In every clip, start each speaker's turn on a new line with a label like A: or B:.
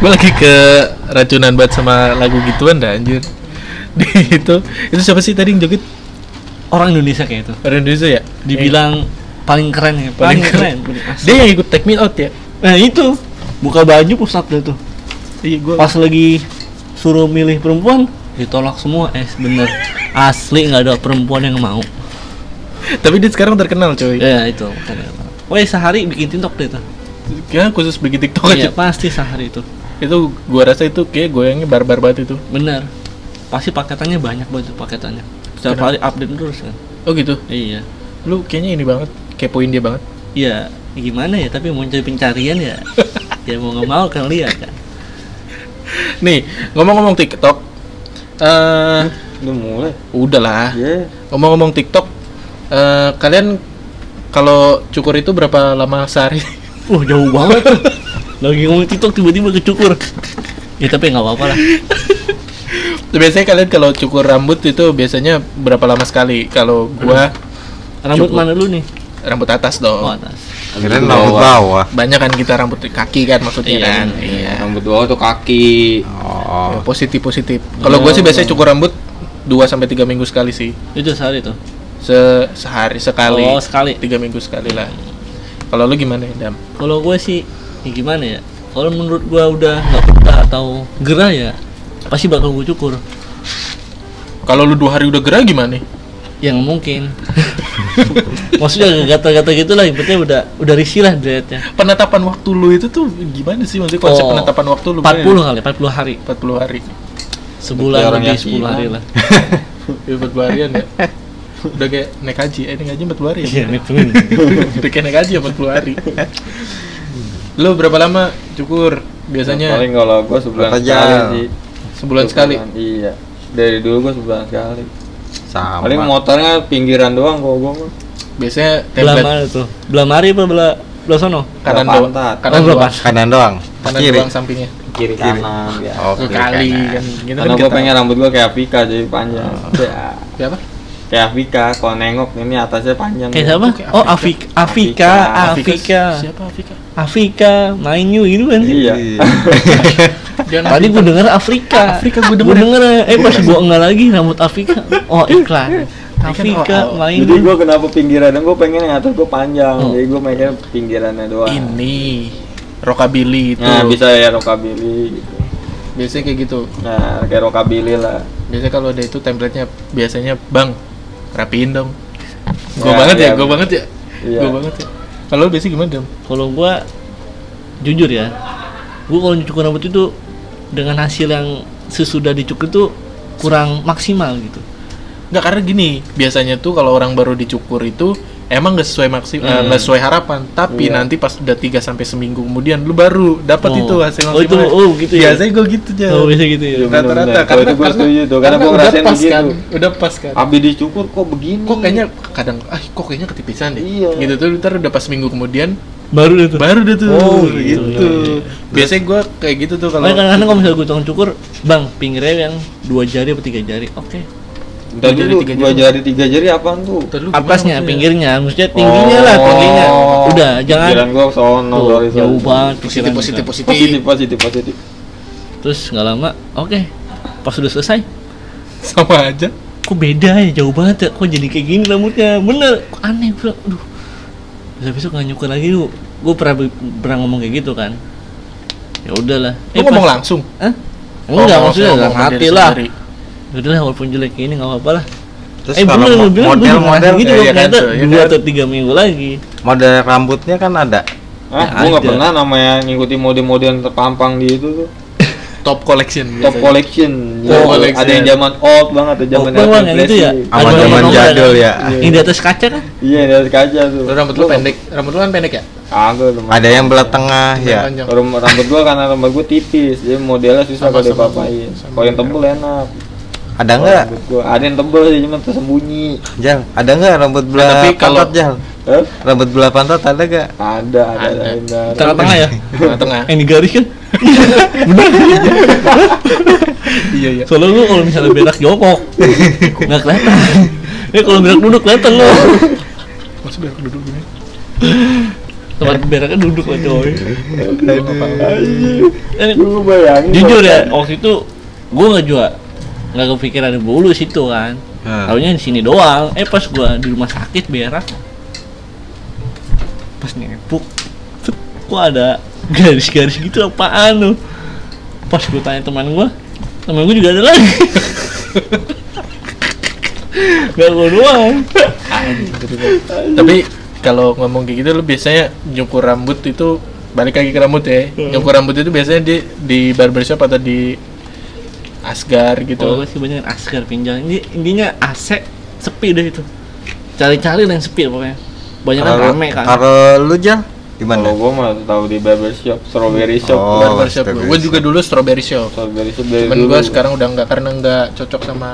A: gue lagi ke racunan banget sama lagu gituan dah anjir di itu itu siapa sih tadi yang joget
B: Orang Indonesia kayak itu.
A: orang Indonesia ya
B: Dibilang paling keren ya, paling, keren.
A: dia yang ikut take me out ya
B: Nah itu buka baju pusat dia tuh.
A: iya gue
B: Pas lagi suruh milih perempuan ditolak semua es bener asli nggak ada perempuan yang mau
A: tapi dia sekarang terkenal coy
B: ya itu makanya. Woi sehari bikin tiktok deh tuh
A: ya khusus bikin tiktok aja
B: iya pasti sehari itu
A: itu gue rasa itu kayak goyangnya barbar banget itu
B: bener pasti paketannya banyak banget tuh paketannya setiap
A: Kenapa?
B: hari update terus kan
A: oh gitu
B: iya
A: lu kayaknya ini banget kepoin dia banget
B: Iya, gimana ya? Tapi muncul pencarian ya. ya mau nggak mau kan lihat kan.
A: nih ngomong-ngomong tiktok eh
C: Udah mulai.
A: udahlah
C: Ya.
A: Ngomong-ngomong TikTok, eh, kalian kalau cukur itu berapa lama sehari?
B: Wah jauh banget. tuh. Lagi ngomong TikTok tiba-tiba kecukur. ya tapi nggak apa-apa lah.
A: biasanya kalian kalau cukur rambut itu biasanya berapa lama sekali? Kalau gua
B: Rambut
A: Cukur.
B: mana lu nih?
A: rambut atas
B: Oh,
A: dong.
B: atas.
C: Kirain rambut Gitu bawah.
A: Banyak kan kita rambut di kaki kan maksudnya
B: Iya,
A: kan.
C: Iya. Rambut bawah tuh kaki.
A: Ya,
C: Oh.
A: Positif positif. Kalau
B: Iya,
A: gua sih biasanya cukur rambut 2 sampai 3 minggu sekali sih.
B: Itu sehari tuh.
A: Se sehari sekali.
B: Oh, sekali.
A: 3 minggu sekali lah. Kalau lu gimana, Dam?
B: Kalau gue sih, ya gimana ya? Kalau menurut gue udah nggak betah atau gerah ya, pasti bakal gue cukur.
A: Kalau lu dua hari udah gerah gimana?
B: Ya nggak mungkin. Maksudnya nggak gatal-gatal gitu lah, yang penting udah udah risih lah dilihatnya.
A: Penetapan waktu lu itu tuh gimana sih maksudnya konsep
B: Oh,
A: penetapan waktu lu?
B: 40 kali, 40 hari.
A: 40 hari.
B: Sebulan
C: orang
B: lebih
C: yakin.
B: 10 hari lah.
A: Ya, 40 harian ya. Udah kayak naik haji, eh naik haji 40 hari ya.
B: Iya, ngitungin.
A: Udah kayak naik haji ya 40 hari. Lu berapa lama cukur biasanya?
C: Nah, Paling kalau gua sebulan
D: Kata
C: sekali
D: Jal.
C: sih.
A: sebulan sekali.
C: Iya. Dari dulu gua sebulan sekali.
D: Sama.
C: Paling motornya pinggiran doang kalau gua. mah.
A: Biasanya
B: Belah
A: tempat
B: mana tuh? Belah mari apa belah belah sono?
A: kanan
C: Belah
A: doang,
C: pantat.
A: kanan
B: Oh, belah
A: doang,
B: pantat.
D: kanan doang.
A: kanan
D: Kiri.
A: doang sampingnya.
C: Kiri kanan ya.
D: Oh,
A: Ke
D: kiri
A: kali
D: kanan.
A: kan. Gitu kan
C: Karena gua
A: kita-
C: pengen rambut gua kayak Vika jadi panjang. Ya.
A: Ya apa?
C: Kayak Vika kalau nengok ini atasnya panjang.
B: Kayak siapa?
A: Oke,
B: Oh, Afik Afika, Afika.
A: Siapa Afika?
B: Afika, main you gitu kan.
C: Iya.
A: Jangan
B: Iya. Tadi
A: Afika.
B: gua denger Afrika.
A: Afrika
B: gua
A: gua
B: denger.
A: denger.
B: eh pas gua enggak lagi rambut Afika. Oh, iklan. Afika
A: oh, oh.
B: main
C: Jadi
B: you.
C: gua kenapa pinggiran gua pengen yang atas gua panjang.
B: Oh.
C: Jadi gua pengen pinggirannya doang.
A: ini rockabilly itu.
C: Nah, bisa ya rockabilly gitu.
A: Biasanya kayak gitu.
C: Nah, kayak rockabilly lah.
A: Biasanya kalau ada itu template-nya biasanya bang rapiin dong. Gue
C: Ya,
A: banget ya,
C: ya.
A: gue banget ya.
C: Iya.
A: Gue banget ya. Kalau lu biasanya gimana, Dam?
B: Kalau gua jujur ya, gua kalau cukur rambut itu dengan hasil yang sesudah dicukur itu kurang maksimal gitu.
A: Enggak karena gini, biasanya tuh kalau orang baru dicukur itu emang gak sesuai maksimal,
B: Hmm.
A: sesuai harapan. Tapi
C: Iya.
A: nanti pas udah 3 sampai seminggu kemudian lu baru dapat
B: Oh.
A: itu hasil
B: Oh, itu-
A: maksimalnya.
B: oh, gitu ya?
A: Biasanya gue gitu aja.
B: Oh, biasa gitu ya.
C: Iya.
A: Rata-rata
C: Bener-bener. Kalau itu gua setuju tuh, karena gua ngerasain
A: udah pas
C: begitu.
A: kan, udah pas kan.
C: Abi dicukur kok begini?
A: Kok kayaknya kadang ah kok kayaknya ketipisan deh.
C: Iya.
A: Gitu tuh ntar udah pas minggu kemudian
B: Baru itu.
A: baru deh tuh
B: Oh,
A: gitu.
B: gitu.
A: Biasanya gue kayak gitu tuh kalau
B: Makanya kan kadang-kadang kalau misalnya gue tukang cukur, bang pinggirnya yang dua jari atau tiga jari, oke.
C: Bentar
A: Dua jari,
C: dulu,
A: tiga
C: dua
A: jari.
C: jari tiga jari apaan tuh?
A: Ntar lu gimana
B: Atasnya,
A: maksudnya?
B: pinggirnya, maksudnya tingginya lah,
C: Oh.
B: tingginya. Udah, jangan.
C: Pikiran gua sono,
B: Tuh,
C: sorry, sorry.
B: jauh banget
A: Positif,
B: pikiran
A: positif,
B: kita.
A: positif.
C: Positif, positif, positif.
B: Terus nggak lama, oke. Pas udah selesai,
A: Sama aja.
B: kok beda ya, jauh banget ya, kok jadi kayak gini rambutnya, bener, kok aneh, gue bilang, aduh. Besok besok nggak nyukur lagi lu, gue pernah pernah ngomong kayak gitu kan. Ya udahlah.
A: Lu ngomong langsung.
B: Hah?
A: Oh,
B: Enggak,
A: ngomong-
B: maksudnya dalam
A: ngomong
B: hati
A: diri
B: lah. Ya
A: sendiri.
B: Udahlah, walaupun jelek ini nggak apa-apa lah.
D: Terus
B: eh
D: kalau
B: bener lu
D: mo-
B: bilang gue juga
D: model-model
B: ngerasain gitu
A: eh,
B: loh
A: iya kan,
B: ternyata
A: tuh, iya
B: dua
A: kan?
B: atau tiga minggu lagi
D: model rambutnya kan ada.
C: Ah,
B: Ya,
C: gua nggak
B: ada.
C: pernah namanya ngikutin mode-mode yang terpampang di itu tuh.
A: Top collection.
C: Top
A: biasanya.
C: collection.
A: Top
C: Iya,
A: collection.
C: Ada yang zaman old banget, ada zaman
B: Open one yang itu ya
C: refleksi.
D: Sama
B: ada
D: zaman
B: nomor kan?
D: jadul ya.
B: yang di atas kaca kan
C: Iya, dari kaca tuh.
A: Lu rambut lu pendek. Rambut lu kan pendek ya?
C: Kagak, teman.
D: Ada yang belah tengah ya.
A: Panjang.
C: Rum- rambut gua karena rambut gua tipis, jadi modelnya susah
A: Sama-
C: kalau
A: sama.
C: dipapain.
A: Sama.
C: Kalau yang tebel enak.
D: Ada
C: Kalau
D: enggak?
C: rambut Gua ada yang tebel sih, cuma tersembunyi.
D: Jal, ada enggak rambut
C: Nah,
D: belah
A: Tapi kalau-
D: pantat Jal?
C: Eh?
D: Rambut belah pantat ada enggak?
C: Ada, ada, ada. ada, ada.
B: tengah-tengah ya
A: Tengah-tengah.
B: yang di garis kan
A: Iya iya.
B: soalnya lu kalau misalnya berak jongkok nggak kelihatan ya kalau berak duduk kelihatan lo
A: Masih biar aku duduk gini.
B: tempat beraknya duduk lah coy Eh,
C: Lu bayangin
B: jujur
C: Bang.
B: ya waktu itu gue nggak juga nggak kepikiran di bulu situ kan
D: Ah.
B: Taunya di sini doang. Eh pas gua di rumah sakit berak. Pas nepuk. cet, Kok ada garis-garis gitu apaan lu? Pas gua tanya teman gua, teman gua juga ada lagi. Gak gua doang.
A: Tapi kalau ngomong kayak gitu lu biasanya nyukur rambut itu balik lagi ke rambut ya. Nyukur rambut itu biasanya di di barbershop atau di asgar
B: Kalau
A: gitu.
B: gua sih banyak asker pinjang. Ini intinya AC sepi deh itu. Cari-cari yang sepi pokoknya. Banyak kan
D: Kalau-
B: rame kan.
D: Kalau lu Jal
C: Kalau
D: gimana?
C: Oh, gua mah tahu di barbershop, strawberry shop.
D: Oh, Iya,
A: barbershop
D: strawberry
A: gue juga
D: shop.
A: dulu strawberry shop.
C: Strawberry shop dari
A: Cuman
C: dulu.
A: gue sekarang udah nggak karena nggak cocok sama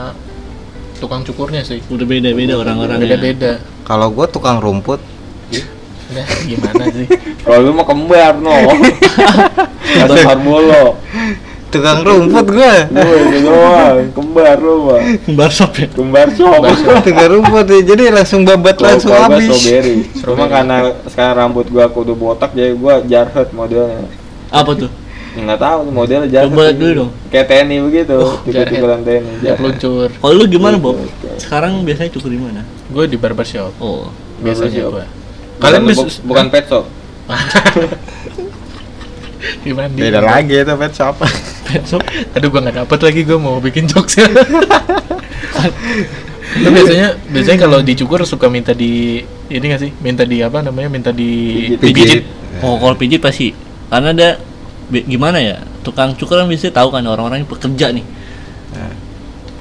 A: tukang cukurnya sih.
B: Udah beda-beda orang-orang
A: Beda-beda.
D: Kalau gua tukang rumput,
A: Nah, gimana sih?
C: Kalau lu mau kembar no. Ada Marbolo.
D: tukang rumput gua.
C: Lu itu doang, kembar lu mah.
B: Barsop ya.
C: Kembar shop.
D: tukang rumput ya. jadi langsung babat
C: Kalau
D: langsung
C: gua
D: habis.
C: strawberry. Cuma karena sekarang rambut gua kudu botak jadi gua jarhead modelnya.
B: Apa tuh?
C: Enggak tahu nih modelnya jarhead.
B: Coba dulu dong. Oh,
C: Kayak TNI begitu, tiga-tigaan TNI.
A: Ya peluncur.
B: Kalau lu gimana Bob? Sekarang biasanya cukur di mana?
A: Gue di barbershop
B: Oh,
A: biasanya
C: Barbershop.
A: gue. Kalian
C: Kalian
A: bis-
C: Nah, bukan pet shop.
A: gimana? Di-
D: Beda lagi itu pet shop.
B: pet shop.
A: Aduh gua nggak dapet lagi gua mau bikin jokes ya. Itu biasanya biasanya kalau dicukur suka minta di ini nggak sih? Minta di apa namanya? Minta di
C: Pijit.
A: pijit.
B: Oh, kalau pijit pasti. Karena ada bi- gimana ya? Tukang cukur kan biasanya tahu kan orang-orang yang pekerja nih.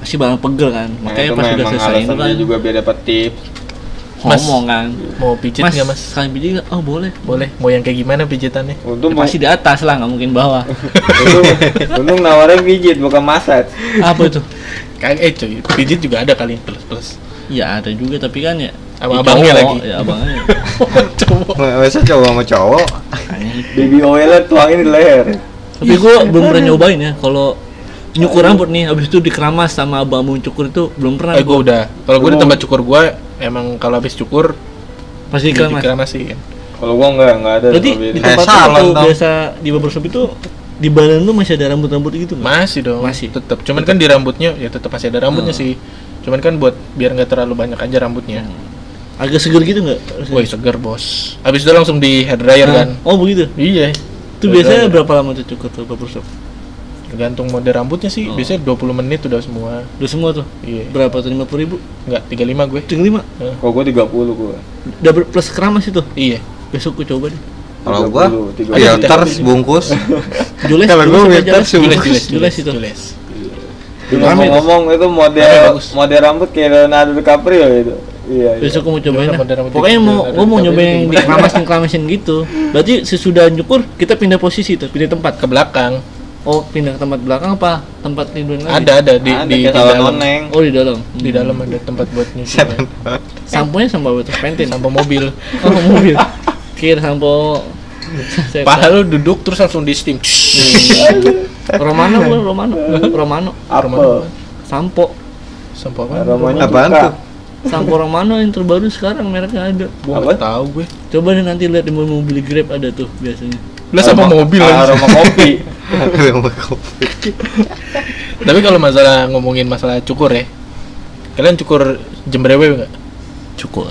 B: Pasti barang pegel kan.
C: Nah,
B: Makanya
C: itu
B: pas udah
C: memang
B: selesai itu
C: alasannya
B: kan
C: juga biar dapat tips.
A: Mas,
B: ngomong kan.
A: Mau pijit
B: mas,
A: nggak mas?
B: Sekali pijit nggak? Oh, boleh.
A: Boleh. Mau yang kayak gimana pijitannya?
B: Ya,
C: Untung mau-
B: pasti di atas lah, nggak mungkin bawah.
C: untung, untung nawarnya pijit bukan massage.
B: Apa itu?
A: Kayak eh cuy, pijit juga ada kali plus plus.
B: Ya ada juga tapi kan ya
A: Sama
B: ya
A: abangnya
B: cowok,
A: lagi.
B: Ya abangnya.
A: Coba.
D: Masa cowok sama cowok?
C: Baby oilnya tuangin di leher.
B: Tapi gue belum pernah nyobain ya kalau nyukur rambut nih habis itu dikeramas sama abang cukur itu belum pernah
A: Eh gua udah. Kalau gua di
C: Lu-
A: tempat cukur gua emang kalau habis cukur
B: pasti
A: dikeramas.
B: dikeramas. Iya.
A: dikeramasin.
C: Kalau gua enggak, enggak ada
B: Berarti
C: strawberry.
B: di
D: Kayak
B: tempat
D: salon
B: lu
D: dong.
B: biasa di barbershop itu di badan lu masih ada rambut-rambut gitu nggak?
A: Masih dong.
B: Masih.
A: Tetap. Cuman kan di rambutnya ya tetap masih ada rambutnya sih. Cuman kan buat biar nggak terlalu banyak aja rambutnya.
B: Agak seger gitu nggak?
A: Woi seger bos. Abis itu langsung di hair dryer
B: Nah,
A: kan.
B: Oh begitu.
A: Iya.
B: Itu biasanya berapa lama tuh cukur tuh barbershop?
A: Tergantung mode rambutnya sih.
B: Oh.
A: Biasanya 20 menit udah semua.
B: Udah semua tuh.
A: Iya.
B: Berapa tuh? 50 ribu?
A: Enggak 35 gue.
B: Tinggal lima.
C: Kalau gua 30 gua.
B: Udah ber- plus keramas itu.
A: Iya.
B: Besok gue coba deh.
D: Kalau gua
C: 30.
D: filters bungkus.
B: Jules,
D: Kalau gua
B: apa
D: winter
B: Jules?
D: sumber.
B: Jules, Jules, Jules itu.
A: Jules.
C: Ngomong-ngomong itu model
A: Rame bagus.
C: model rambut kayak Leonardo DiCaprio itu. Iya. iya.
B: Besok gue mau cobain
A: Jules,
B: lah.
A: rambut- rambut
B: Pokoknya
A: dikit,
B: mau
A: rambut
B: gue mau
A: dikit, rambut
B: nyobain yang
A: dikit.
B: dikeramas keramas-keramasin gitu. Berarti sesudah nyukur kita pindah posisi tuh, pindah tempat.
A: Ke belakang.
B: Oh pindah ke tempat belakang apa? Tempat tiduran lagi?
A: Ada ada di
C: Ada
A: di, di
C: kayak salon
A: dalam.
C: noneng.
B: Oh di dalam.
A: Di dalam ada tempat buat nyuci.
B: Sampo nya sampo apa tuh? Pentin.
A: Sampo mobil.
B: Oh mobil. Kira sampo. Saya-
A: Paha lu duduk terus langsung di steam. Iya.
B: Romano gua, Romano. Romano.
C: Apel.
B: Sampo.
A: Sampo apa?
C: Aromanya
D: Apaan
C: suka.
D: tuh?
B: Sampo Romano yang terbaru sekarang mereknya ada.
A: Gua
C: Apa?
A: nggak tahu gue.
B: Coba deh nanti lihat di mobil Grab ada tuh biasanya.
A: Lah sama
C: Aroma-
A: mobil. anjing.
C: Ah, Aroma kopi.
D: Aroma kopi.
A: Tapi kalau masalah ngomongin masalah cukur ya. Kalian cukur jembrewe enggak?
B: Cukur.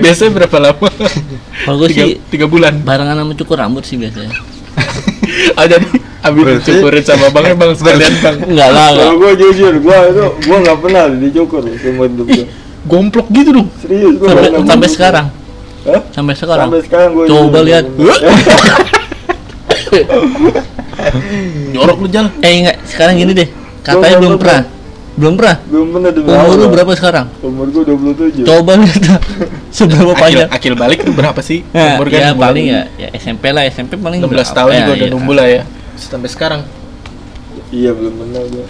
A: Biasanya berapa lama?
B: Kalau gue
A: tiga,
B: sih
A: tiga bulan.
B: barengan sama cukur rambut sih biasanya.
A: Oh jadi abis
D: Berarti-
A: dicukurin sama bang bang sekalian bang
B: Enggak lah.
C: Kalau gua jujur, gua itu gua enggak pernah dicukur seumur hidup gua.
A: Gomplok gitu dong
C: Serius gua
B: Sampai,
C: nggak pernah
B: sampai
C: dicukur.
B: sekarang.
C: Hah?
B: Sampai sekarang.
C: Sampai sekarang gua Eh,
B: Coba lihat. Eh,
A: Jorok lu Jal
B: Eh enggak, sekarang gini deh. Katanya
C: Belum,
B: belum
C: belum,
B: pernah. Belum pernah.
C: Belum Iya. pernah demi
B: Umur lu
C: Allah.
B: berapa sekarang?
C: Umur gua 27.
B: Coba lihat dah. seberapa
A: akil,
B: panjang.
A: akil balik itu berapa sih?
B: Nah,
A: Umur kan,
B: ya
A: umur
B: paling ya, ya SMP lah, SMP paling
A: 16
B: berapa
A: tahun
B: ya,
A: juga udah
B: iya.
A: numbuh lah ya Sampai sekarang
C: Iya, belum pernah gua.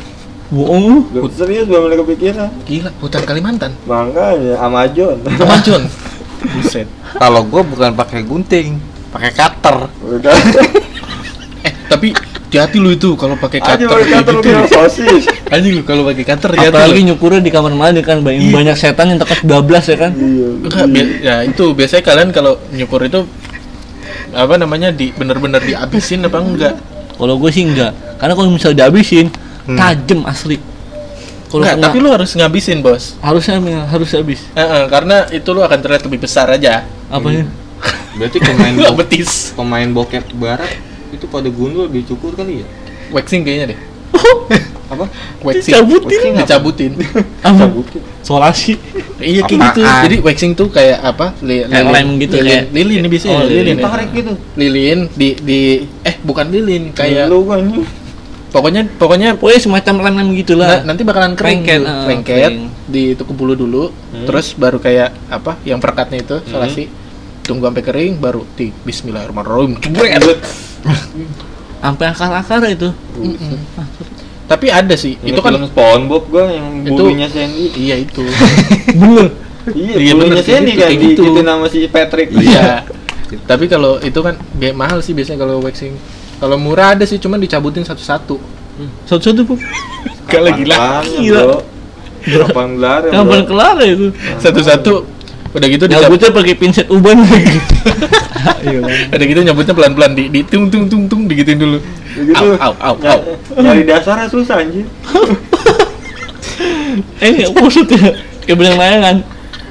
B: Bohong lu.
C: Belum serius belum pernah kepikiran.
A: Gila, hutan Kalimantan
C: Makanya Amazon.
A: Kemajon Buset
D: Kalau gua bukan pakai gunting, pakai cutter.
C: Udah.
A: Eh, tapi hati-hati lu itu kalau pakai
C: Aja
A: cutter
C: baru
A: kayak
C: kata lu
A: gitu
C: bilang sosis.
A: anjing lu kalau pakai cutter hati-hati
B: Apalagi
A: lu.
B: nyukurnya di kamar mandi kan banyak,
A: Iya.
B: banyak setan yang tekat bablas ya kan.
C: Iya.
A: Enggak, bi- ya itu biasanya kalian kalau nyukur itu apa namanya di bener-bener dihabisin apa enggak
B: Kalau gue sih enggak. Karena kalau misalnya dihabisin,
D: Hmm.
B: tajem asli. Kalau
A: enggak
B: kena,
A: tapi lu harus ngabisin bos
B: harusnya harus habis.
A: Eh, eh, karena itu lu akan terlihat lebih besar aja
B: Apanya?
A: Hmm.
D: Berarti pemain
A: Enggak
D: bokep,
A: betis
D: pemain bokep barat itu pada gundul dicukur kali ya?
A: waxing kayaknya deh
D: Apa?
A: waxing
B: Dicabutin.
A: Waxing apa? dicabutin
B: Apa?
C: Cabutin.
B: Solasi.
A: iya kayak gitu
D: Apaan?
A: jadi waxing tuh kayak apa li-
B: Kayak lem gitu,
A: lilin,
B: kayak-
A: lilin biasanya
B: Oh,
A: lilin,
B: lilin.
A: ya.
D: Tarik gitu.
A: lilin di di eh bukan lilin kayak
C: lu gua ini.
A: pokoknya pokoknya
B: Pokoknya semacam lem-lem gitu
A: na-
B: gitulah.
A: nanti bakalan kering
B: Lengket,
A: gitu.
B: eh,
A: lengket
B: kering. Hmm.
A: di tuku bulu dulu terus baru kayak apa yang perekatnya itu solasi tunggu sampai kering baru di Bismillahirrahmanirrahim jebret.
B: Sampai akar-akar itu.
A: Mm-mm. tapi ada sih itu
C: Itu
A: kan
C: film SpongeBob gua yang
A: Itu-
C: bulunya Sandy.
A: iya itu
B: Bener.
A: Iya,
C: Iya,
A: bener,
C: bulunya
A: kayak
C: Sandy
A: gitu,
C: kan
A: kayak
C: di
A: gitu.
C: itu nama si Patrick.
A: iya tapi kalau itu kan biaya mahal sih biasanya kalau waxing kalau murah ada sih cuman dicabutin satu-satu Hmm.
B: Satu-satu
A: Ya
B: Pup.
A: kalau
B: Gila.
C: Gila. Kapan gelar?
B: Kapan kelar ya itu?
A: satu-satu udah gitu dicabut
B: Nyabutnya pakai pinset uban lagi.
A: Ada gitu nyebutnya pelan-pelan di, di tung tung tung tung digituin dulu.
C: Begitu.
A: Au au au au.
C: Ny- Nyari dasarnya susah anjir.
B: eh, nggak maksudnya kayak benang layangan.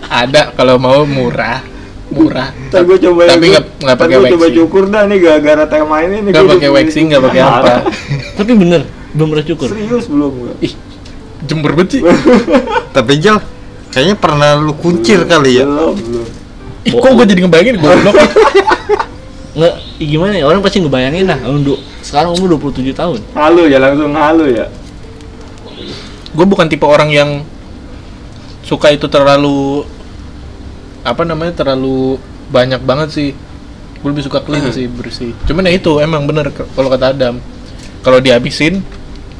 A: Ada kalau mau murah, murah.
C: Ntar gua coba
A: Tapi nggak nggak
C: ntar
A: pakai
C: gua coba
A: waxing.
C: cukur dah nih gara-gara tema ini nih.
A: Nggak
C: gua
A: pakai
C: cukur.
A: waxing, nggak pakai apa.
B: Tapi bener, belum pernah cukur.
C: Serius belum gua.
A: Ih, jember banget sih.
D: Tapi Jal, kayaknya pernah lu kuncir
B: Iya.
D: kali ya?
C: Belum, belum.
A: Ih, kok gue jadi ngebayangin goblok.
B: Nggak, ih, gimana ya? Orang pasti ngebayangin lah. Untuk sekarang umur 27 tahun.
C: Halu ya langsung halu ya.
A: gue bukan tipe orang yang suka itu terlalu apa namanya terlalu banyak banget sih. Gue lebih suka
B: Hmm.
A: clean sih, bersih. Cuman ya itu emang bener ke- kalau kata Adam. Kalau dihabisin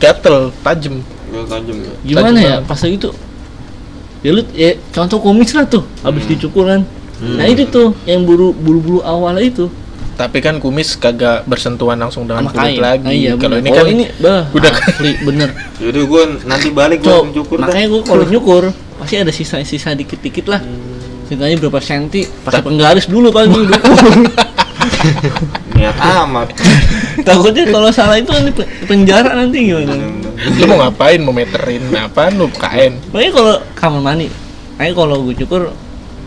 A: gatel, tajam.
C: Gua tajam ya.
B: Gimana
A: Tajam
B: ya?
A: banget.
B: Pas lagi tuh Ya lu ya, contoh komis lah tuh habis
A: Hmm.
B: dicukur kan. Nah itu tuh yang buru bulu-bulu awal itu
A: Tapi kan kumis kagak bersentuhan langsung dengan
B: sama
A: kulit
B: kain.
A: lagi.
B: Ah, iya,
A: kalau
B: bener.
A: ini kan
B: ini bah,
A: udah-
B: udah asli bener.
C: Jadi gua nanti balik gua
B: Cok,
C: langsung cukur dah.
B: makanya gue kalau nyukur pasti ada sisa-sisa dikit-dikit lah. Sisanya berapa senti? Pasti penggaris dulu paling dulu.
C: Niat amat.
B: Takutnya kalau salah itu nanti pe- penjara nanti gimana?
A: lu mau ngapain mau meterin apa lu kain
B: Makanya kalau kamar mandi, makanya kalau gue cukur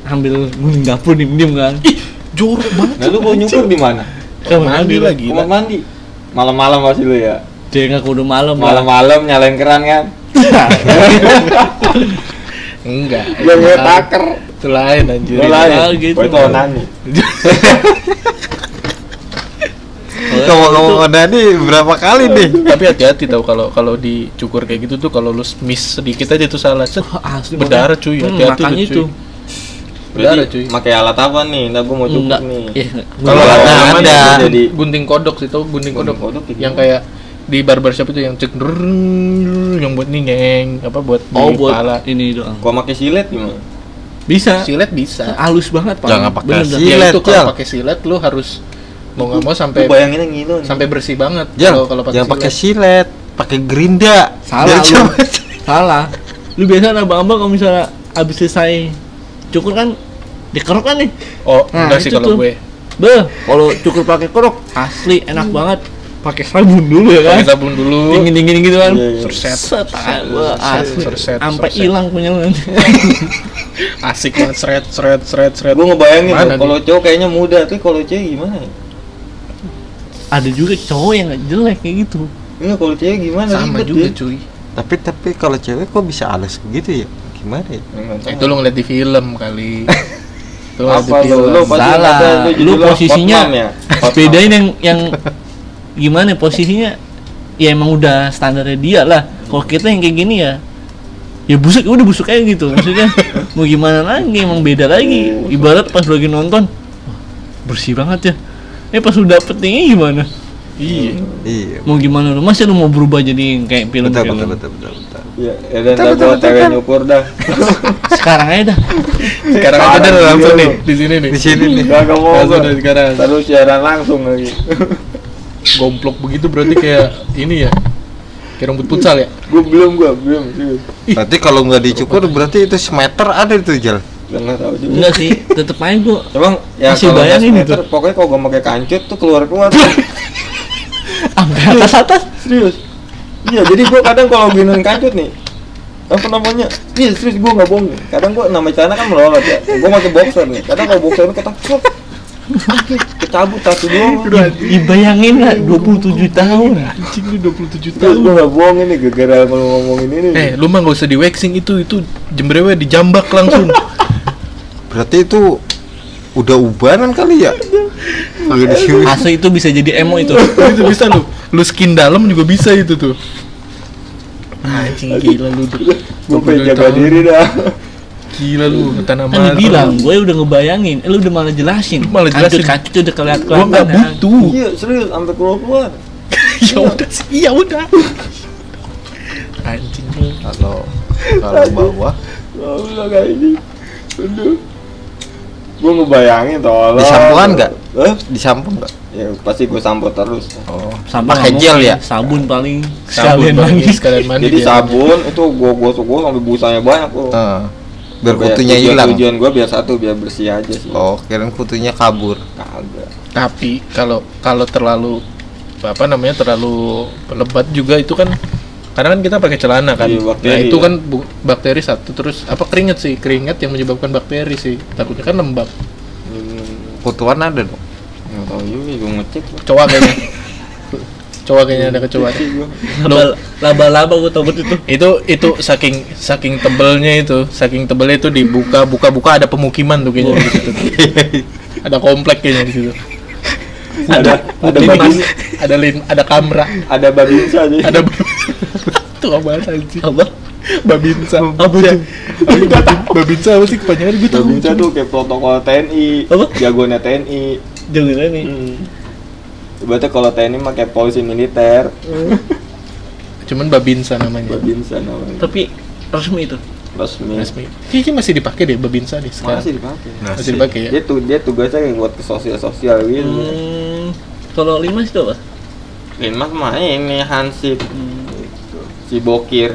B: ambil guling dapur diem-diem kan.
A: jorok banget
C: Nah lu mau nyukur di mana?
A: mandi
B: Kamar mandi lah.
A: lagi
C: Kamar mandi. Malam-malam pasti lu ya.
B: Dia ngaku udah malam. lah.
C: Malam-malam nyalain keran kan.
A: enggak
C: Gua
A: itu
C: gue
A: lain.
C: taker.
A: itu lain anjir
C: Lu lain.
B: gitu.
C: Gua itu onani.
B: Kalau-
D: Ngomong-ngomong Nani berapa kali
B: Iya.
D: nih?
A: tapi hati-hati tau kalau kalau dicukur kayak gitu tuh kalau lu miss sedikit aja tuh salah set
B: Wah, asli
A: berdarah
B: makanya-
A: cuy
B: Hmm,
A: hati-hati lu,
B: makanya
A: cuy.
B: itu.
A: berdarah cuy
C: Berarti pakai alat apa nih? Nah gua mau cukur
B: Enggak.
C: nih.
B: Iya, enggak.
A: kalau
D: Nggak
A: ada
D: ada.
A: ada
C: Jadi-
A: gunting kodok sih tau gunting kodok,
C: Gunting kodok kayak
A: yang
C: gimana?
A: kayak di barbershop itu yang cek drrrrrrrrrrrrrrrrrrrrrrrrrrrrrrrrrrrrrrrrrrrrrrrrrrrrrrrr, yang buat nih nyeng apa buat di
B: Oh buat
A: kepala
B: ini doang.
C: Gua pakai silet gimana?
B: Bisa.
A: silet bisa
B: Halus banget pak.
D: Jangan pakai
B: Bener dah.
D: silet.
A: ya itu
D: Jal.
A: kalau pakai silet lu harus mau nggak mau sampai
C: Lu bayangin yang gini nih.
A: sampai bersih banget kalau
D: Jal,
A: kalau pakai
D: jangan pakai
A: silet.
D: silet, pakai gerinda.
B: Salah
D: Biar
B: lu.
D: cepet.
B: Salah. Lu biasa abang-abang kalau misalnya abis selesai cukur kan dikerok kan nih.
A: Oh,
B: Nah,
A: enggak sih
B: itu
A: kalau
B: tuh.
A: gue.
B: Beh, kalau cukur pakai kerok asli enak banget. Pakai sabun dulu ya
A: Pakai
B: kan.
A: sabun dulu.
B: Hmm. Dingin dingin gitu kan.
C: Iya, iya.
A: Surset.
B: Set, ah, wah, asli.
A: Surset,
B: Sampai
A: surset.
B: hilang punya lu nanti.
A: Asik banget seret seret seret seret.
C: Gue ngebayangin
A: Mana
C: tuh, kalau cowok kayaknya muda, tapi kalau cewek gimana ya?
B: Ada juga cowok yang nggak jelek kayak gitu.
C: Iya, kalau cewek gimana?
A: sama
C: Ribet
A: juga
C: ya.
A: cuy.
D: Tapi tapi kalau cewek kok bisa alis gitu ya? Gimana ya?
C: Enggak tahu.
A: Eh, Itu lu ngeliat di film kali. Itu lu ngeliat
C: Apa
A: di
C: lu?
A: film.
C: Lu pasti
B: Salah.
C: ada lu
B: Lu
C: judulnya
B: posisinya
C: Hotman ya? Hotman.
B: bedain yang yang gimana posisinya ya emang udah standarnya dia lah kalau kita yang kayak gini ya ya busuk udah busuk aja gitu maksudnya mau gimana lagi emang beda
D: Iya,
B: lagi ibarat pas lagi nonton wah, bersih banget ya eh pas udah petingnya gimana
A: Iya.
D: Iya.
B: mau gimana lu masih lu mau berubah jadi yang kayak film,
D: Betul
B: film.
D: betul betul betul betul.
C: Iya, ya dan dah gua cewek nyukur dah.
B: sekarang aja dah
A: Sekarang aja
C: Parah
A: udah
C: juga
A: langsung
C: lu.
A: nih di sini nih.
D: Di sini nih.
C: Enggak mau
A: Langsung
C: gua.
A: dari sekarang.
C: Terus siaran langsung lagi.
A: gomplok begitu berarti kayak ini ya kayak rambut futsal ya
C: Gue belum, gue belum. serius.
D: Berarti kalau nggak dicukur berarti itu semeter ada itu Jal.
C: Gua nggak tahu juga.
B: Enggak sih, tetep aja gua
C: Emang ya
B: Masih
C: kalau nggak
B: bayangin
C: semeter,
B: itu.
C: pokoknya kalau gue pakai kancut tuh keluar keluar.
B: sampai atas atas.
C: serius. Iya, jadi gue kadang kalau giniin kancut nih, apa namanya? Iya serius gue nggak bohong. nih. Kadang gue nama celana kan melorot ya. Gue pakai boxer nih. Kadang kalau boxer ini ketakut, kecabut satu doang.
B: Dibayangin lah 27 tahun.
A: anjing lu 27
C: Terus gue nggak bohong ini gara-gara kalau ngomongin ini. nih.
A: eh lu mah nggak usah di waxing itu itu jembrewe dijambak langsung
D: Berarti itu udah ubanan kali ya? Kagak disium.
B: Asu itu bisa jadi emo itu.
A: itu bisa lu lu skin dalam juga bisa itu tuh anjing gila lu tuh
C: Gue pengen jaga diri dah.
A: gila lu ke tanah
B: Kan
A: Malang.
B: dibilang, gue udah ngebayangin, eh, lu udah malah jelasin.
A: Lu malah jelasin.
B: Kancut udah kan, ya. kelihatan
A: gua nggak butuh
C: Iya serius sampai keluar keluar.
A: ya udah sih ya
B: iya
A: udah anjing lu
D: Kalau kalau bawah
C: Allah kayak ini. Aduh. Gue ngebayangin tolong.
D: Disampuan nggak?
C: Eh?
D: disampung nggak?
C: Ya pasti gue sampur terus.
D: Oh.
B: Sampah
D: Pakai
B: nggak
D: gel
B: mungkin,
D: ya?
B: Sabun paling.
A: Sabun
B: Sekalian
A: mandi,
B: lagi.
A: sekalian mandi
C: Jadi
A: dia.
C: sabun itu gue gosok gue sampai busanya banyak kok.
D: Heeh. Biar kutunya hilang.
C: Iya, Tujuan gue biar satu biar bersih aja sih.
D: Oh, kirain kutunya kabur.
C: Kagak.
A: tapi kalau kalau terlalu apa namanya terlalu lebat juga itu kan karena kan kita pakai celana kan
C: Iya, bakteri
A: nah itu
C: ya.
A: kan bu- bakteri satu terus apa keringet sih keringet yang menyebabkan bakteri sih takutnya kan lembab
C: Hmm,
D: Kutuan ada dong.
C: Nggak tahu juga gue ngecek.
A: kecoa kayaknya kecoa kayaknya ada kecoa
C: Ngecek gua.
B: Laba- Laba-laba gue tau itu.
A: itu itu saking saking tebelnya itu saking tebelnya itu dibuka buka buka ada pemukiman tuh kayaknya di situ tuh. ada komplek kayaknya di situ
C: Ada ada
A: Ini
C: babi
A: mas, ada lin ada kamera
C: ada babinsa aja.
A: ada tuh apa sih
B: Apa?
A: babinsa Ya.
B: Apa tuh?
A: babinsa apa sih kepanjangan gue tahu
C: Babinsa tuh kayak protokol TNI,
B: Apa?
C: jagoannya TNI.
B: Jangan nih.
C: Hmm. Berarti kalau TNI pakai polisi militer,
A: cuman babinsa namanya
C: babinsa namanya.
B: Tapi resmi itu.
C: Resmi.
A: resmi kayaknya masih dipakai deh babinsa deh sekarang
C: Masih dipakai.
A: masih
D: Iya,
A: dipakai ya
C: Dia tuh dia tugasnya kayak buat ke sosial-sosial gitu.
B: Hmm, kalau lima itu apa?
C: Limas mah ini Hansip. Gitu. Si Bokir.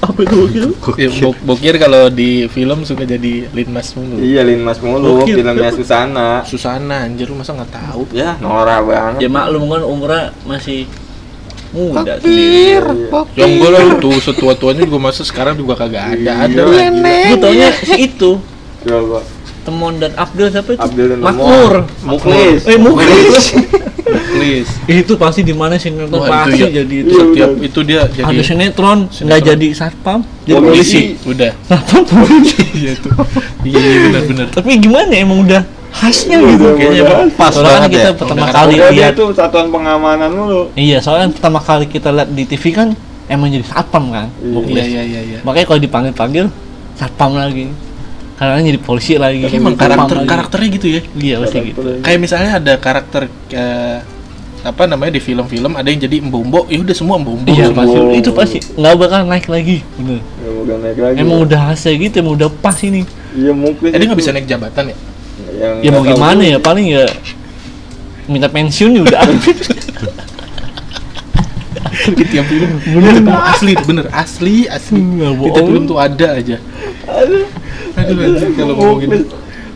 B: Apa itu wakil?
A: Ya, Bok- bokir kalau di film suka jadi linmas mulu
C: Iya Linmas mulu
B: Bokir.
C: filmnya Susana.
A: Susana anjir lu masa nggak tahu
C: Ya, Nora
B: Ya
C: banget.
B: maklum kan umurnya masih muda sendiri.
D: Papir,
C: Iya,
A: Ya
D: papir.
A: enggak lah tuh setua-tuanya juga masa sekarang juga
C: iya.
A: kagak ada ada lah.
B: Gue taunya si itu
C: Coba.
B: Temon dan Abdul siapa itu?
C: Abdul dan
B: Makmur.
C: Nomor. Muklis.
B: Eh Muklis.
A: please.
B: itu pasti di mana sinetron
A: Wah,
B: pasti
A: itu ya.
B: jadi itu.
C: Iya,
A: Setiap
C: udah.
A: itu dia jadi
B: Ada sinetron nggak jadi satpam, jadi
C: Polisi.
B: polisi.
A: udah.
B: Satpam polisi.
A: Iya tuh. Iya iya, benar-benar.
B: Tapi gimana ya, emang udah khasnya gitu.
A: Kayaknya
C: Udah,
D: Pas
B: Soalnya kan
D: banget
B: kita
D: ya.
B: pertama
A: Udah,
B: kali
C: Udah dia
B: lihat.
C: tuh satuan pengamanan mulu.
B: Iya, soalnya pertama kali kita lihat di TV kan emang jadi satpam kan.
A: Iya iya iya iya.
B: Makanya kalau dipanggil-panggil satpam lagi. Karena jadi polisi lagi.
A: Tapi emang
B: Satpam
A: karakter
B: lagi.
A: karakternya gitu ya.
B: Iya pasti gitu.
A: Kayak misalnya ada karakter eh, apa namanya di film-film ada yang jadi embombo, ya udah semua embombo.
B: Iya
A: Semua.
B: pasti itu pasti nggak bakal naik lagi. Bener.
C: Gak ya, mau naik lagi.
B: Emang udah khasnya gitu, emang udah pas ini.
C: Iya Muklis.
A: Eh, dia nggak
C: itu.
A: bisa naik jabatan ya?
C: Yang
B: Ya mau
C: nggak tahu
B: gimana ya, paling ya minta pensiun ya udah.
A: Di tiap film bener asli itu bener asli asli.
B: Nggak
A: Di tiap
B: bohong.
A: film tuh ada aja. Aduh. Aduh, anjing, kalau ngomongin
C: Muklis.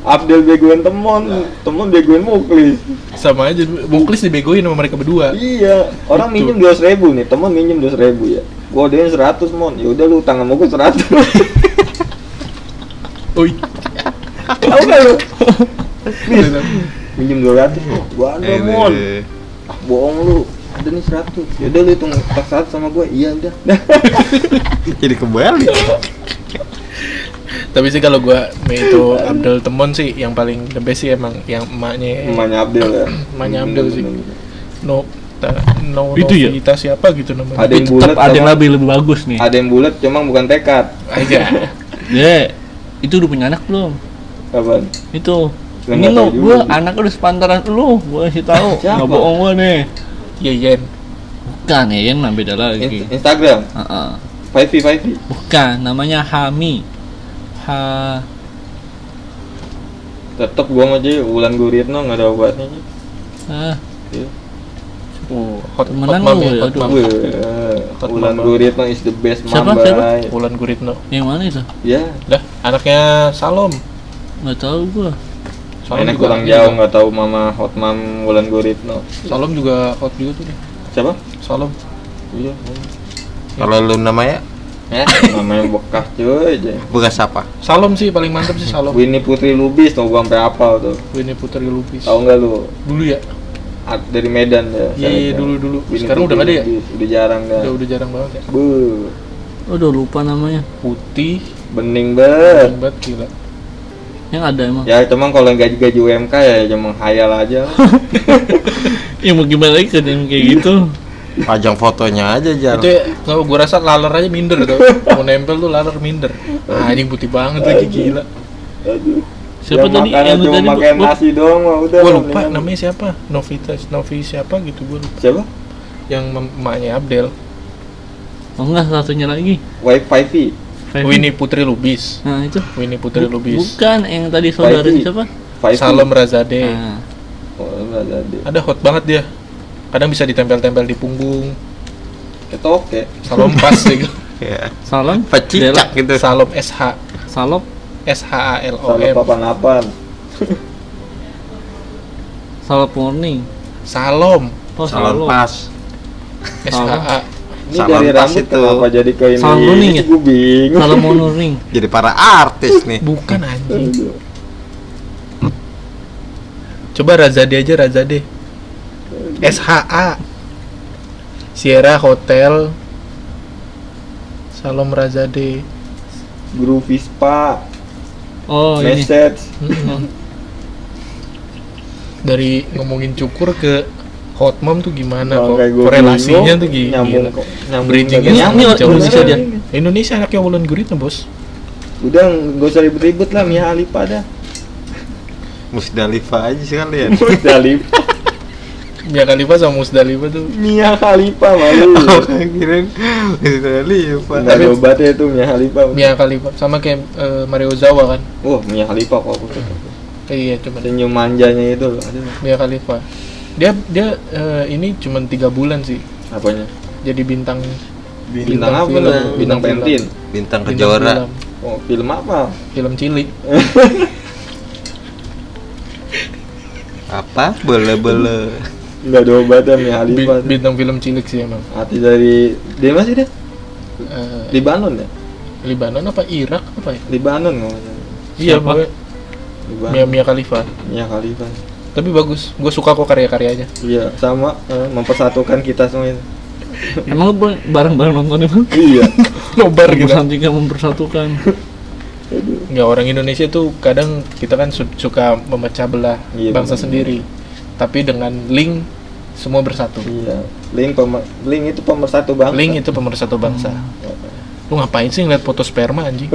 C: Abdul begoin temon, temon begoin Muklis.
A: sama aja Muklis dibegoin sama mereka berdua.
C: Iya, orang
A: Betul.
C: minjem dua ribu nih, temen minjem dua ribu ya. Gua dia seratus mon, ya udah lu utang sama gua seratus.
A: Oi.
C: Tahu nggak lu? Minjem dua ratus, gua ada
D: Eh,
C: mon.
D: eh,
C: Ah, bohong lu, ada nih seratus. Ya udah lu hitung tak seratus sama gua, iya udah.
D: Jadi kebalik.
A: Tapi sih kalau gua itu Abdul Temon sih yang paling the best sih emang yang emaknya
C: Emaknya Abdul ya.
A: Emaknya Abdul sih. no ta, no
B: Itu ya?
A: Novita siapa gitu namanya.
C: Ada yang bulat,
B: Tetap ada yang
C: sama-
B: lebih lebih bagus nih.
C: ada yang bulat, cuma bukan tekad.
A: Aja.
B: Ya, itu udah punya anak belum?
C: Apaan?
B: Itu
C: Nggak
B: ini
C: tahu
B: lo, gue
C: juga.
B: anak udah sepantaran lu, gue kasih tahu.
C: Siapa?
B: Nggak bohong gue nih.
A: Yeyen.
B: Bukan ya, yang beda lagi.
C: In- Instagram,
B: Heeh.
C: Five V, Five V.
B: Bukan, namanya Hami. Ha
C: Tetep gua mau jadi Wulan Guritno nggak ada obatnya.
B: ah,
C: Iya. Oh.
A: Hot, hot
B: Temenan
A: mom
B: lu
A: ya,
B: ya,
A: hot
B: aduh.
A: mom.
C: Wih,
A: Hot
C: Ulan
A: Mama.
C: Guritno is the best
B: Siapa,
C: mamba.
B: siapa?
A: Wulan Guritno.
B: Yang mana itu?
C: Ya,
A: Dah, anaknya Salom.
B: Nggak tahu gua.
A: Salom
C: mainnya
A: juga
C: kurang jauh nggak tahu mama hot mom Wulan Guritno.
A: Salom juga hot juga tuh dia.
C: Siapa?
A: Salom.
C: Iya.
D: Kalau lu namanya
C: Ya, namanya bekas cuy. cuy.
D: bekas apa?
A: Salom sih paling mantap sih Salom.
C: Winnie Putri Lubis tuh gua sampai apal tuh.
A: Winnie Putri Lupis.
C: Tahu Eh. nggak lu?
A: Dulu ya.
C: Art dari Medan ya.
A: Iya, iya, dulu, dulu. Sekarang udah nggak ada ya?
C: Udah jarang dah.
A: Udah udah jarang banget ya.
C: Bu,
B: Udah lupa namanya.
A: Putih,
C: bening banget.
A: hebat gila.
B: Yang ada emang.
C: Ya, cuman kalau yang gaji-gaji UMK ya cuma khayal aja.
B: Ya mau gimana lagi kan yang kayak gitu.
D: Pajang fotonya aja
A: Itu
D: jarang.
A: ya, kalau gua rasa laler aja minder tuh. Mau nempel tuh laler minder.
C: Eh.
A: Ah, anjing putih banget lagi gila.
B: Siapa tadi yang
C: yang
B: lu
C: cuma
B: tadi?
C: makan
B: Bob?
C: nasi doang mah udah.
A: Gua lupa
C: mendingan.
A: namanya siapa. Novita, Novi siapa gitu gua lupa.
C: Siapa?
A: Yang mem- emaknya Abdel.
B: Oh enggak, satunya lagi.
C: Wi-Fi V.
B: Fevi.
A: Winnie Putri Lubis.
B: Nah, itu.
A: Winnie Putri Lubis.
B: Bukan yang tadi saudara
C: Fevi.
B: siapa?
C: Five
A: Salom Razade.
B: Nah,
C: Oh, enggak jadi.
A: Ada hot banget dia. Kadang bisa ditempel-tempel di punggung.
C: Ketok ya.
A: Salom pas gitu.
D: Ya.
B: Salam. Dela-
D: Pecicak gitu.
A: Salom SH.
B: Salop.
A: S H A L O
C: Salop
A: M.
C: papan-papan.
B: Salop morning.
A: Salom.
B: Oh,
D: Salon
B: salop.
D: pas.
A: S H A.
C: Ini
D: Salam
C: dari
D: pas
C: rambut
D: itu.
C: kenapa jadi ke ini?
B: Salam kuning ya?
C: Gue bingung.
B: Salop morning.
D: Jadi para artis nih.
A: Bukan anjing. Coba Razade aja Razade. S H A. Sierra Hotel. Salom Razade.
C: Guru Vispa,
B: Oh, ini.
C: message.
B: Oh,
A: Dari ngomongin cukur ke hot mom tuh gimana
C: Kalau
A: kok
C: kayak gua
A: korelasinya
C: bingung,
A: tuh gi-
C: nyambung
A: gila.
C: kok. Nyambung
A: Bridgingnya
C: kagak
A: sama
B: Ini
C: nyambung.
A: jauh
B: Indonesia
A: banget.
B: dia.
A: Indonesia anaknya Wulan Guritno bos
C: Udah nggak usah ribut-ribut lah Mia Alipa dah.
D: Musdalifah aja sekalian.
C: Musdalifah.
A: Mia Ya, Khalifa sama Musdalifah tuh
C: Mia Khalifa malu.
D: Oh, kirain Musdalifah.
C: Nggak ada obatnya itu Mia Khalifa.
A: Mia Khalifa sama kayak eh, Mario Zawa kan
C: Wah Mia Khalifa kok aku suka.
A: iya cuman
C: Senyum manjanya itu loh. Aduh,
A: Mia Khalifa. Dia dia eh, ini cuma tiga bulan sih
C: apanya?
A: jadi bintang
C: Bintang, apa
A: film.
C: lah? Bintang pentin.
D: Bintang
A: bintang
D: kejora.
A: film.
C: Oh film apa?
A: Film Cili.
D: Apa? Bele-bele.
C: Nggak ada obatnya Mia
A: Bi-
C: Khalifa.
A: bintang film cilik sih emang.
C: Hati dari dia masih deh
A: Eh,
C: Libanon ya?
A: Libanon apa Irak apa ya?
C: Libanon nggak salah.
A: Iya,
B: Siapa?
A: pokoknya
C: Libanon.
A: Mia Mia Khalifa.
C: Mia Khalifa.
A: Tapi bagus. Gue suka kok karya-karyanya.
C: Iya, sama eh, mempersatukan kita semua itu.
B: Emang lu bareng-bareng nonton emang?
C: Iya.
A: Nobar gitu.
B: Kebersamaan mempersatukan.
A: Enggak orang Indonesia tuh kadang kita kan su- suka memecah belah
C: Iya,
A: bangsa
C: benar.
A: sendiri. Tapi dengan link semua bersatu.
C: iya. Link pemer- link itu pemersatu bangsa.
A: Link itu pemersatu bangsa. Lu ngapain sih ngeliat foto sperma anjing?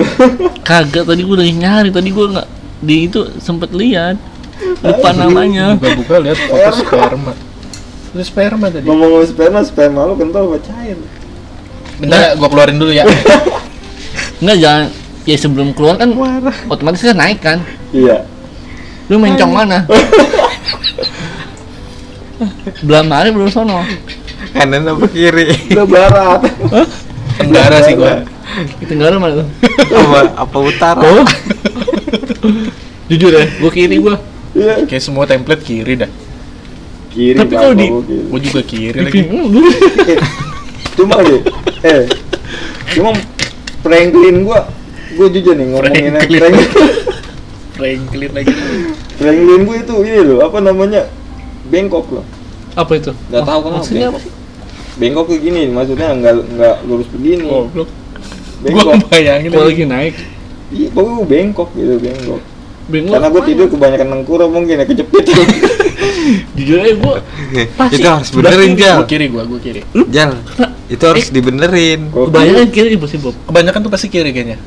B: Kagak tadi gua lagi nyari, tadi gua nggak di itu sempet lihat lupa namanya.
A: buka-buka lihat foto sperma itu sperma tadi
C: Ngomong sperma, sperma lu kental apa cair?
A: bentar gue keluarin dulu ya
B: Enggak jangan ya sebelum keluar kan otomatis kan naik kan.
C: Iya.
B: Lu mencong mana? Belah mari belum sono.
D: Kanan apa kiri?
C: Udah barat.
A: tenggara sih gue
B: Di Tenggara mana tuh?
D: apa, apa utara?
B: Oh. Jujur ya, gua kiri gua.
C: Iya.
A: kayak semua template kiri dah
C: Kiri
B: Tapi kalau di-
C: bangku, kiri.
A: gue juga kiri lagi
B: Bingung dulu.
C: gitu. Eh, Cuma deh. Eh. Cuma Franklin gua gua jujur nih ngomongin yang-
A: Franklin.
C: Franklin.
A: Franklin lagi
C: Franklin gua itu ini loh, apa namanya? Bengkok loh.
B: Apa itu?
C: Nggak tahu kenapa.
B: Maksudnya apa?
C: Bengkok kayak gini, maksudnya nggak nggak lurus begini.
A: goblok gue
C: Bengkok.
A: bayangin
B: Oh, Gua lagi naik.
C: Iya, pokoknya gua bengkok gitu, bengkok.
B: Bingung.
C: Karena gue tidur kebanyakan nengkurap mungkin ya kejepit.
B: jujur aja gua Pasti.
D: Itu harus
B: Sebelah
D: benerin,
B: kiri. Hmm? Eh.
D: Jal.
A: gue kiri gue gue kiri
D: Jal, itu harus dibenerin.
B: kebanyakan kiri impossible.
A: kebanyakan tuh pasti kiri kayaknya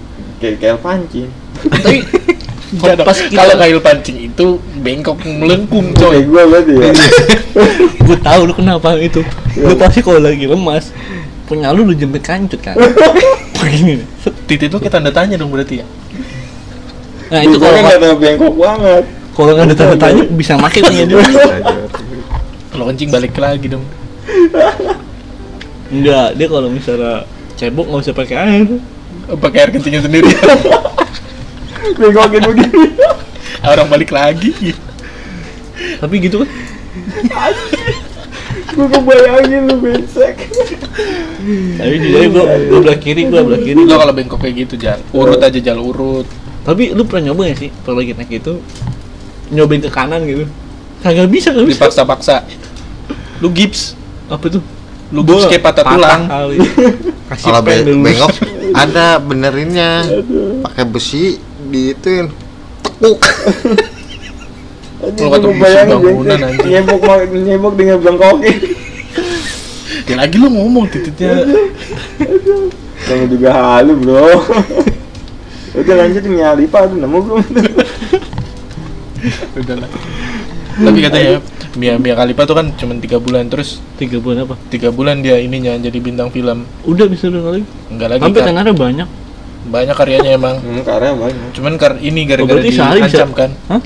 C: kayak kayak pancing.
A: tapi
B: Kalau pas kita-
A: kalau kail pancing itu bengkok melengkung
C: Kayak
A: coy
C: gue berarti ya.
B: Nah, gue tahu lu kenapa itu
A: Iya.
B: lu pasti kalau lagi lemas punya lu lu jemput kancut kan begini nih.
A: titik itu kita tanda tanya dong berarti ya
B: nah itu kalau
C: kan nggak tahu bengkok banget.
B: kalau nggak ada tanda tanya bisa makin punya dia
A: kalau kencing balik lagi dong
B: Enggak, dia kalau misalnya cebok nggak usah pakai air.
A: Eh, pakai air kencingnya sendiri
C: Begokin begini.
A: orang balik lagi
B: Tapi gitu kan.
C: Gue kebayangin lu bengsek.
B: Tapi jadi Nah, gua gua belah kiri, gua belah kiri.
A: lo kalau bengkok kayak gitu jar urut aja jal urut
B: Tapi lu pernah nyoba gak sih kalau lagi naik itu nyobain ke kanan gitu? Kagak bisa, kagak bisa.
A: dipaksa-paksa lu gips
B: Apa tuh?
A: lu gips kayak patah tulang
B: kali. Kasih
D: Kalau
B: pen
D: be-
B: dulu.
D: bengok ada benerinnya. Pakai besi diituin. Tekuk.
C: Anjing
A: Lu
C: gue
A: kata
C: kebayangin
A: musuh bangunan,
C: bengsek.
A: anjing.
C: Nyebok ma- nyebok dengan bengkokin.
A: ya lagi lu ngomong titiknya
C: Kamu juga halu, Bro. Udah lanjut nyali pak, aduh nemu gue
A: udahlah tapi katanya Mia Mia Khalifa tuh kan cuma tiga bulan terus
B: Tiga bulan apa?
A: tiga bulan dia ininya jadi bintang film
B: Udah bisa dua kali.
A: enggak lagi
B: Sampai
A: Kak.
B: tenarnya banyak.
A: banyak karyanya emang
C: Hmm, karena banyak
A: cuman kar ini
B: Oh,
A: gara-gara
B: berarti sehari bisa.
A: diancam kan
B: Hah?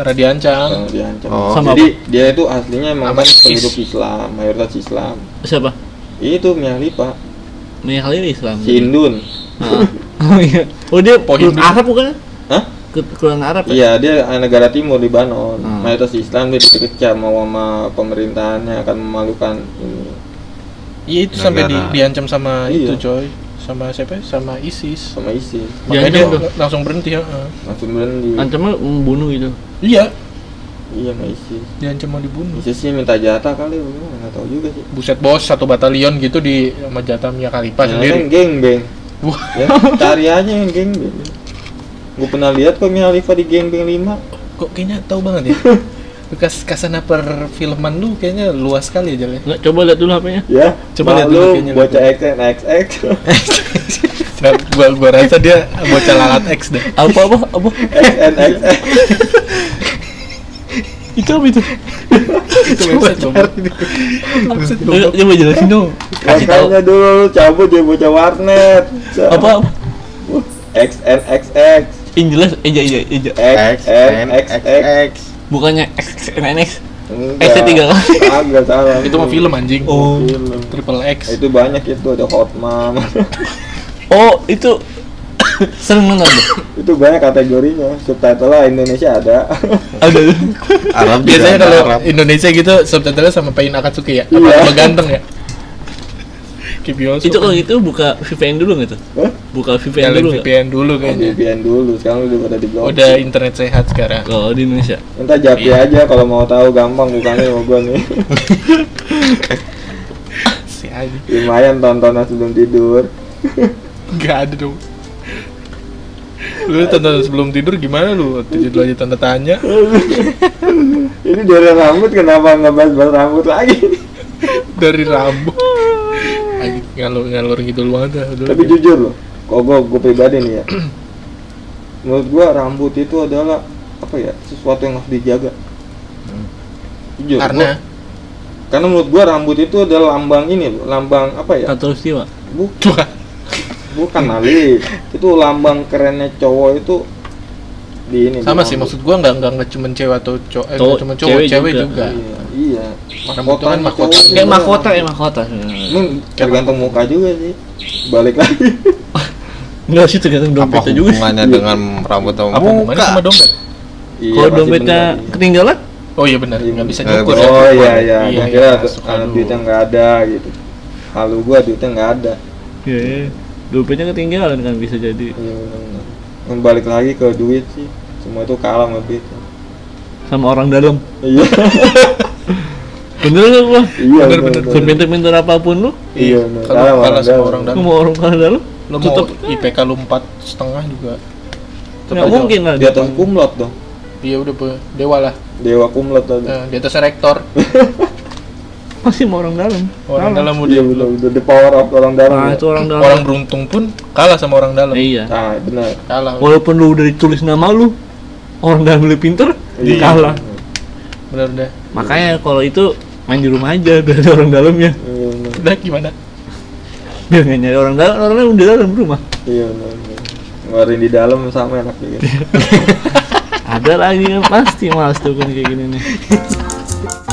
A: karena diancam
C: Karena diancam
D: Oh.
B: Sama
C: Jadi dia itu aslinya emang
A: Sama
C: kan
A: Is.
C: penduduk Islam, mayoritas Islam
B: Siapa?
C: Itu Miali pak,
B: Banyak kali ini Islam.
C: si Indun
A: Hmm.
B: Ah. Oh iya. Oh dia
A: Pohon
B: keturunan Arab bukan?
C: Hah?
B: Ke- Keturunan Arab ya?
C: Iya, dia negara timur Lebanon.
B: Hmm.
C: Mayoritas Islam dia dikecam mau sama pemerintahannya akan memalukan ini.
A: Iya itu sampai di,
D: Gara-gara.
A: diancam sama
C: Iya.
A: itu coy sama siapa ya? sama ISIS
C: sama ISIS.
A: makanya dia
B: Diancam tuh.
A: langsung berhenti ya heeh.
C: Langsung berhenti.
B: Ancaman membunuh gitu.
A: iya
C: Iya, sama ISIS.
A: diancam mau dibunuh
C: ISIS sih minta jatah kali, gua nggak tahu juga sih.
A: buset bos satu batalion gitu di sama jatah Mia Khalifa
C: Ya,
A: sendiri
C: kan geng beng.
A: Wah.
C: Ya, cari aja yang geng beng. Gue pernah lihat kok Mia Khalifa di geng beng 5
A: kok kayaknya tahu banget ya bekas kasana perfilman lu kayaknya luas sekali aja ya Jal, ya.
B: Nggak, coba lihat dulu HP-nya.
C: Ya,
A: Coba lihat dulu
C: lu
A: kayaknya.
C: baca XX XX.
A: nah, gua gua rasa dia bocah lalat X deh
B: Apa apa apa?
C: XNXX.
B: Itu apa itu?
A: itu website goblok. Website
B: Eh,
A: goblok.
B: Coba jelasin dong. Kasih tahu.
C: Makanya dulu lu cabut dia bocah warnet.
B: Apa? apa?
C: XNXX.
B: Yang jelas eh, eja eja eja.
D: X N X
C: XNXX.
D: X.
B: Bukannya XNX.
C: Enggak.
B: ST3 kan?
C: Kagak salah.
A: itu mah film anjing
B: Oh.
C: Film.
A: triple X
C: Itu banyak ya, itu ada Hot Mom.
B: Oh, itu sering nonton tuh.
C: itu banyak kategorinya. Subtitle Indonesia ada.
B: Ada. tuh.
D: Arab
A: biasanya
D: juga ada
A: kalau
D: Arab.
A: Indonesia gitu subtitlenya sama Pain Akatsuki ya apa
C: Iya.
A: sama ganteng ya Kibioso
B: itu kalau gitu buka VPN dulu nggak tuh?
C: Hah?
B: Buka
A: VPN
B: VPN dulu
A: dulu,
B: nggak?
A: VPN dulu kayaknya
C: VPN dulu, sekarang udah pada di blog.
A: udah Iya. internet sehat sekarang
B: Kalau Oh, di Indonesia.
C: Entah Japi aja kalau mau tahu gampang bukannya sama gua nih.
A: si anjing
C: Lumayan tontonan sebelum tidur.
A: nggak ada dong lu tonton sebelum tidur gimana lu tidur aja tanda tanya
C: Ini dari rambut kenapa nggak bahas rambut lagi?
A: dari rambut Anjing, ngalur ngalur gitu lu ada
C: Tapi jujur loh, kok gua, gua pribadi nih ya. Menurut gua rambut itu adalah apa ya? Sesuatu yang harus dijaga. Jujur.
A: Hmm.
C: gua-
A: karena
C: Karena menurut gua rambut itu adalah lambang ini loh, lambang apa ya?
B: Tato istiwa.
C: Bu-
A: Wah,
C: bukan Ali. Itu lambang kerennya cowok itu di ini. di
A: sama sih
C: rambut.
A: maksud gua nggak nggak nggak cuma cewek atau cowok eh, nggak
B: Cowok,
A: cuma cowok
B: cewek
A: cewek
B: juga.
A: juga,
C: Iya, iya.
A: Rambut itu kan
C: Mahkotanya
A: mahkota.
C: cowok
B: Kayak
C: juga.
B: mahkota, kayak mahkota.
C: Ini tergantung muka juga sih. Balik lagi.
B: Enggak sih tergantung
D: Apa
B: dompetnya juga. sih.
D: hubungannya dengan rambut sama
A: apa hubungannya
D: muka?
A: sama dompet
C: Iya,
B: Kalau
C: pasti
B: dompetnya
C: benar, iya.
B: ketinggalan,
A: oh iya benar nggak bisa
D: Eh,
A: nyukur
D: bener.
C: Oh iya iya,
A: iya
C: gua
A: iya,
C: kira
A: masuk
C: anak
A: dulu.
C: duitnya nggak ada gitu. Kalau gua duitnya nggak ada.
B: Iya, iya. dompetnya ketinggalan kan bisa jadi.
C: Iya benar. Balik lagi ke duit sih. Semua itu kalah sama duit.
B: Sama orang dalam.
C: Iya.
B: Bener gak gua?
C: Iya
A: Bener,
C: benar.
A: bener.
B: Sepinter-pinter apapun lu,
A: Iya,
C: Iya, benar.
A: kalau
C: Dalam,
A: kalah sama
C: dalam.
A: orang
B: lu
A: dalam.
B: mau orang orang dalam,
A: Lo mau
B: tetep
A: IPK lu empat setengah juga.
B: nggak mungkin lah.
C: Di
A: gitu.
C: atas kumlot dong.
A: Dia Iya, udah pe- dewa lah.
C: Dewa kumlot tadi.
A: Nah, di atas rektor.
B: Pasti mau orang dalam.
A: Orang dalam
C: Iya
A: udah
C: benar, udah the power of orang dalam.
A: Ah,
B: Nah,
C: ya.
B: itu orang dalam.
A: orang beruntung pun kalah sama orang dalam.
B: Iya.
C: Nah, benar.
A: Kalah.
B: Walaupun lu udah ditulis nama lu, orang dalam lebih pinter,
C: Iya.
B: kalah.
A: Bener udah.
B: Makanya kalau itu main di rumah aja dari orang dalamnya.
C: Iya benar.
A: Udah gimana?
B: Biar nggak nyari orang dalam, orang dalam udah dalam rumah.
C: Iya benar. benar. Ngeluarin di dalam sama enak juga.
B: Ada lagi kan pasti malas tuh kan kayak gini nih.